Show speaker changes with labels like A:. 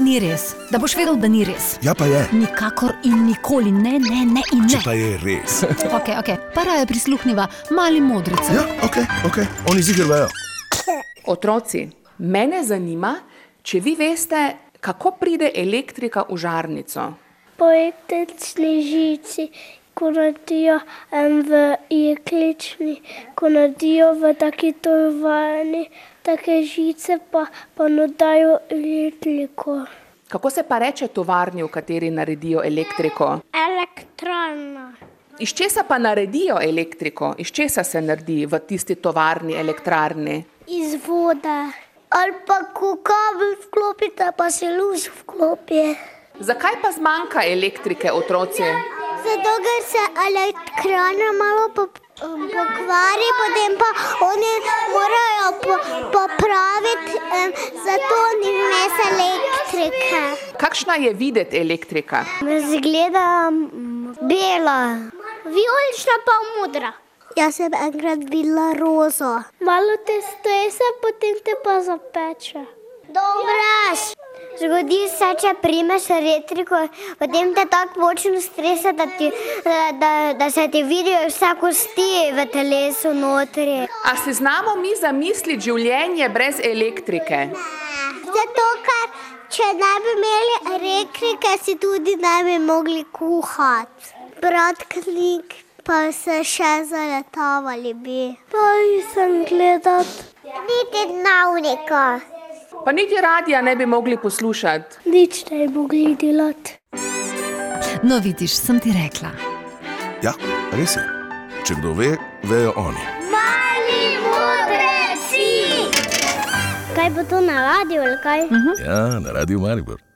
A: ni res, da boš vedel, da ni res.
B: Ja, pa je.
A: Nikakor in nikoli ne, ne, ne in
B: Če
A: ne.
B: pa je res.
A: Okay, okay. Para je prisluhnila mali modrici.
B: Ja, ok, ok, oni zigrajo.
C: Otroci, mene zanima, če vi veste, kako pride elektrika v žarnico.
D: Po električni žici, ko naredijo em, v jeklični, ko naredijo v taki tovani, take žice pa, pa nadajo elektriko.
C: Kako se pa reče tovarni, v kateri naredijo elektriko?
D: Elektrona.
C: Iz česa pa naredijo elektriko? Iz česa se naredi v tisti tovarni elektrarni?
D: Iz vode. Ali pa ko kabel vklopite, pa se luz vklopi.
C: Zakaj pa zmanjka elektrike, otroci?
D: Zato, ker se elektrana malo pop- pokvari, potem pa oni morajo po- popraviti, em, zato ni več elektrike.
C: Kakšna je videti elektrika?
D: Zgleda bela, vijolična pa modra. Jaz sem enkrat bila roza. Malo te stresa, potem te pa zapeče. Dobraš! Zgodi se, če primeš elektriko, potem te tako močno stresa, da, ti, da, da, da se ti vidijo vse kosti v telesu notri.
C: A si znamo mi zamisliti življenje brez elektrike?
D: Zato, ker če ne bi imeli elektrike, si tudi ne bi mogli kuhati. Bratknik pa se še zaletavali bi. Pa sem gledal. Niti dnevnika.
C: Pa niti radia ne bi mogli poslušati.
D: Nič ne bi mogli delati.
A: No, vidiš, sem ti rekla.
B: Ja, res je. Če kdo ve, vejo oni.
D: Mali modreci! Kaj bo to na radiju ali kaj?
B: Mhm. Ja, na radiju Maribor.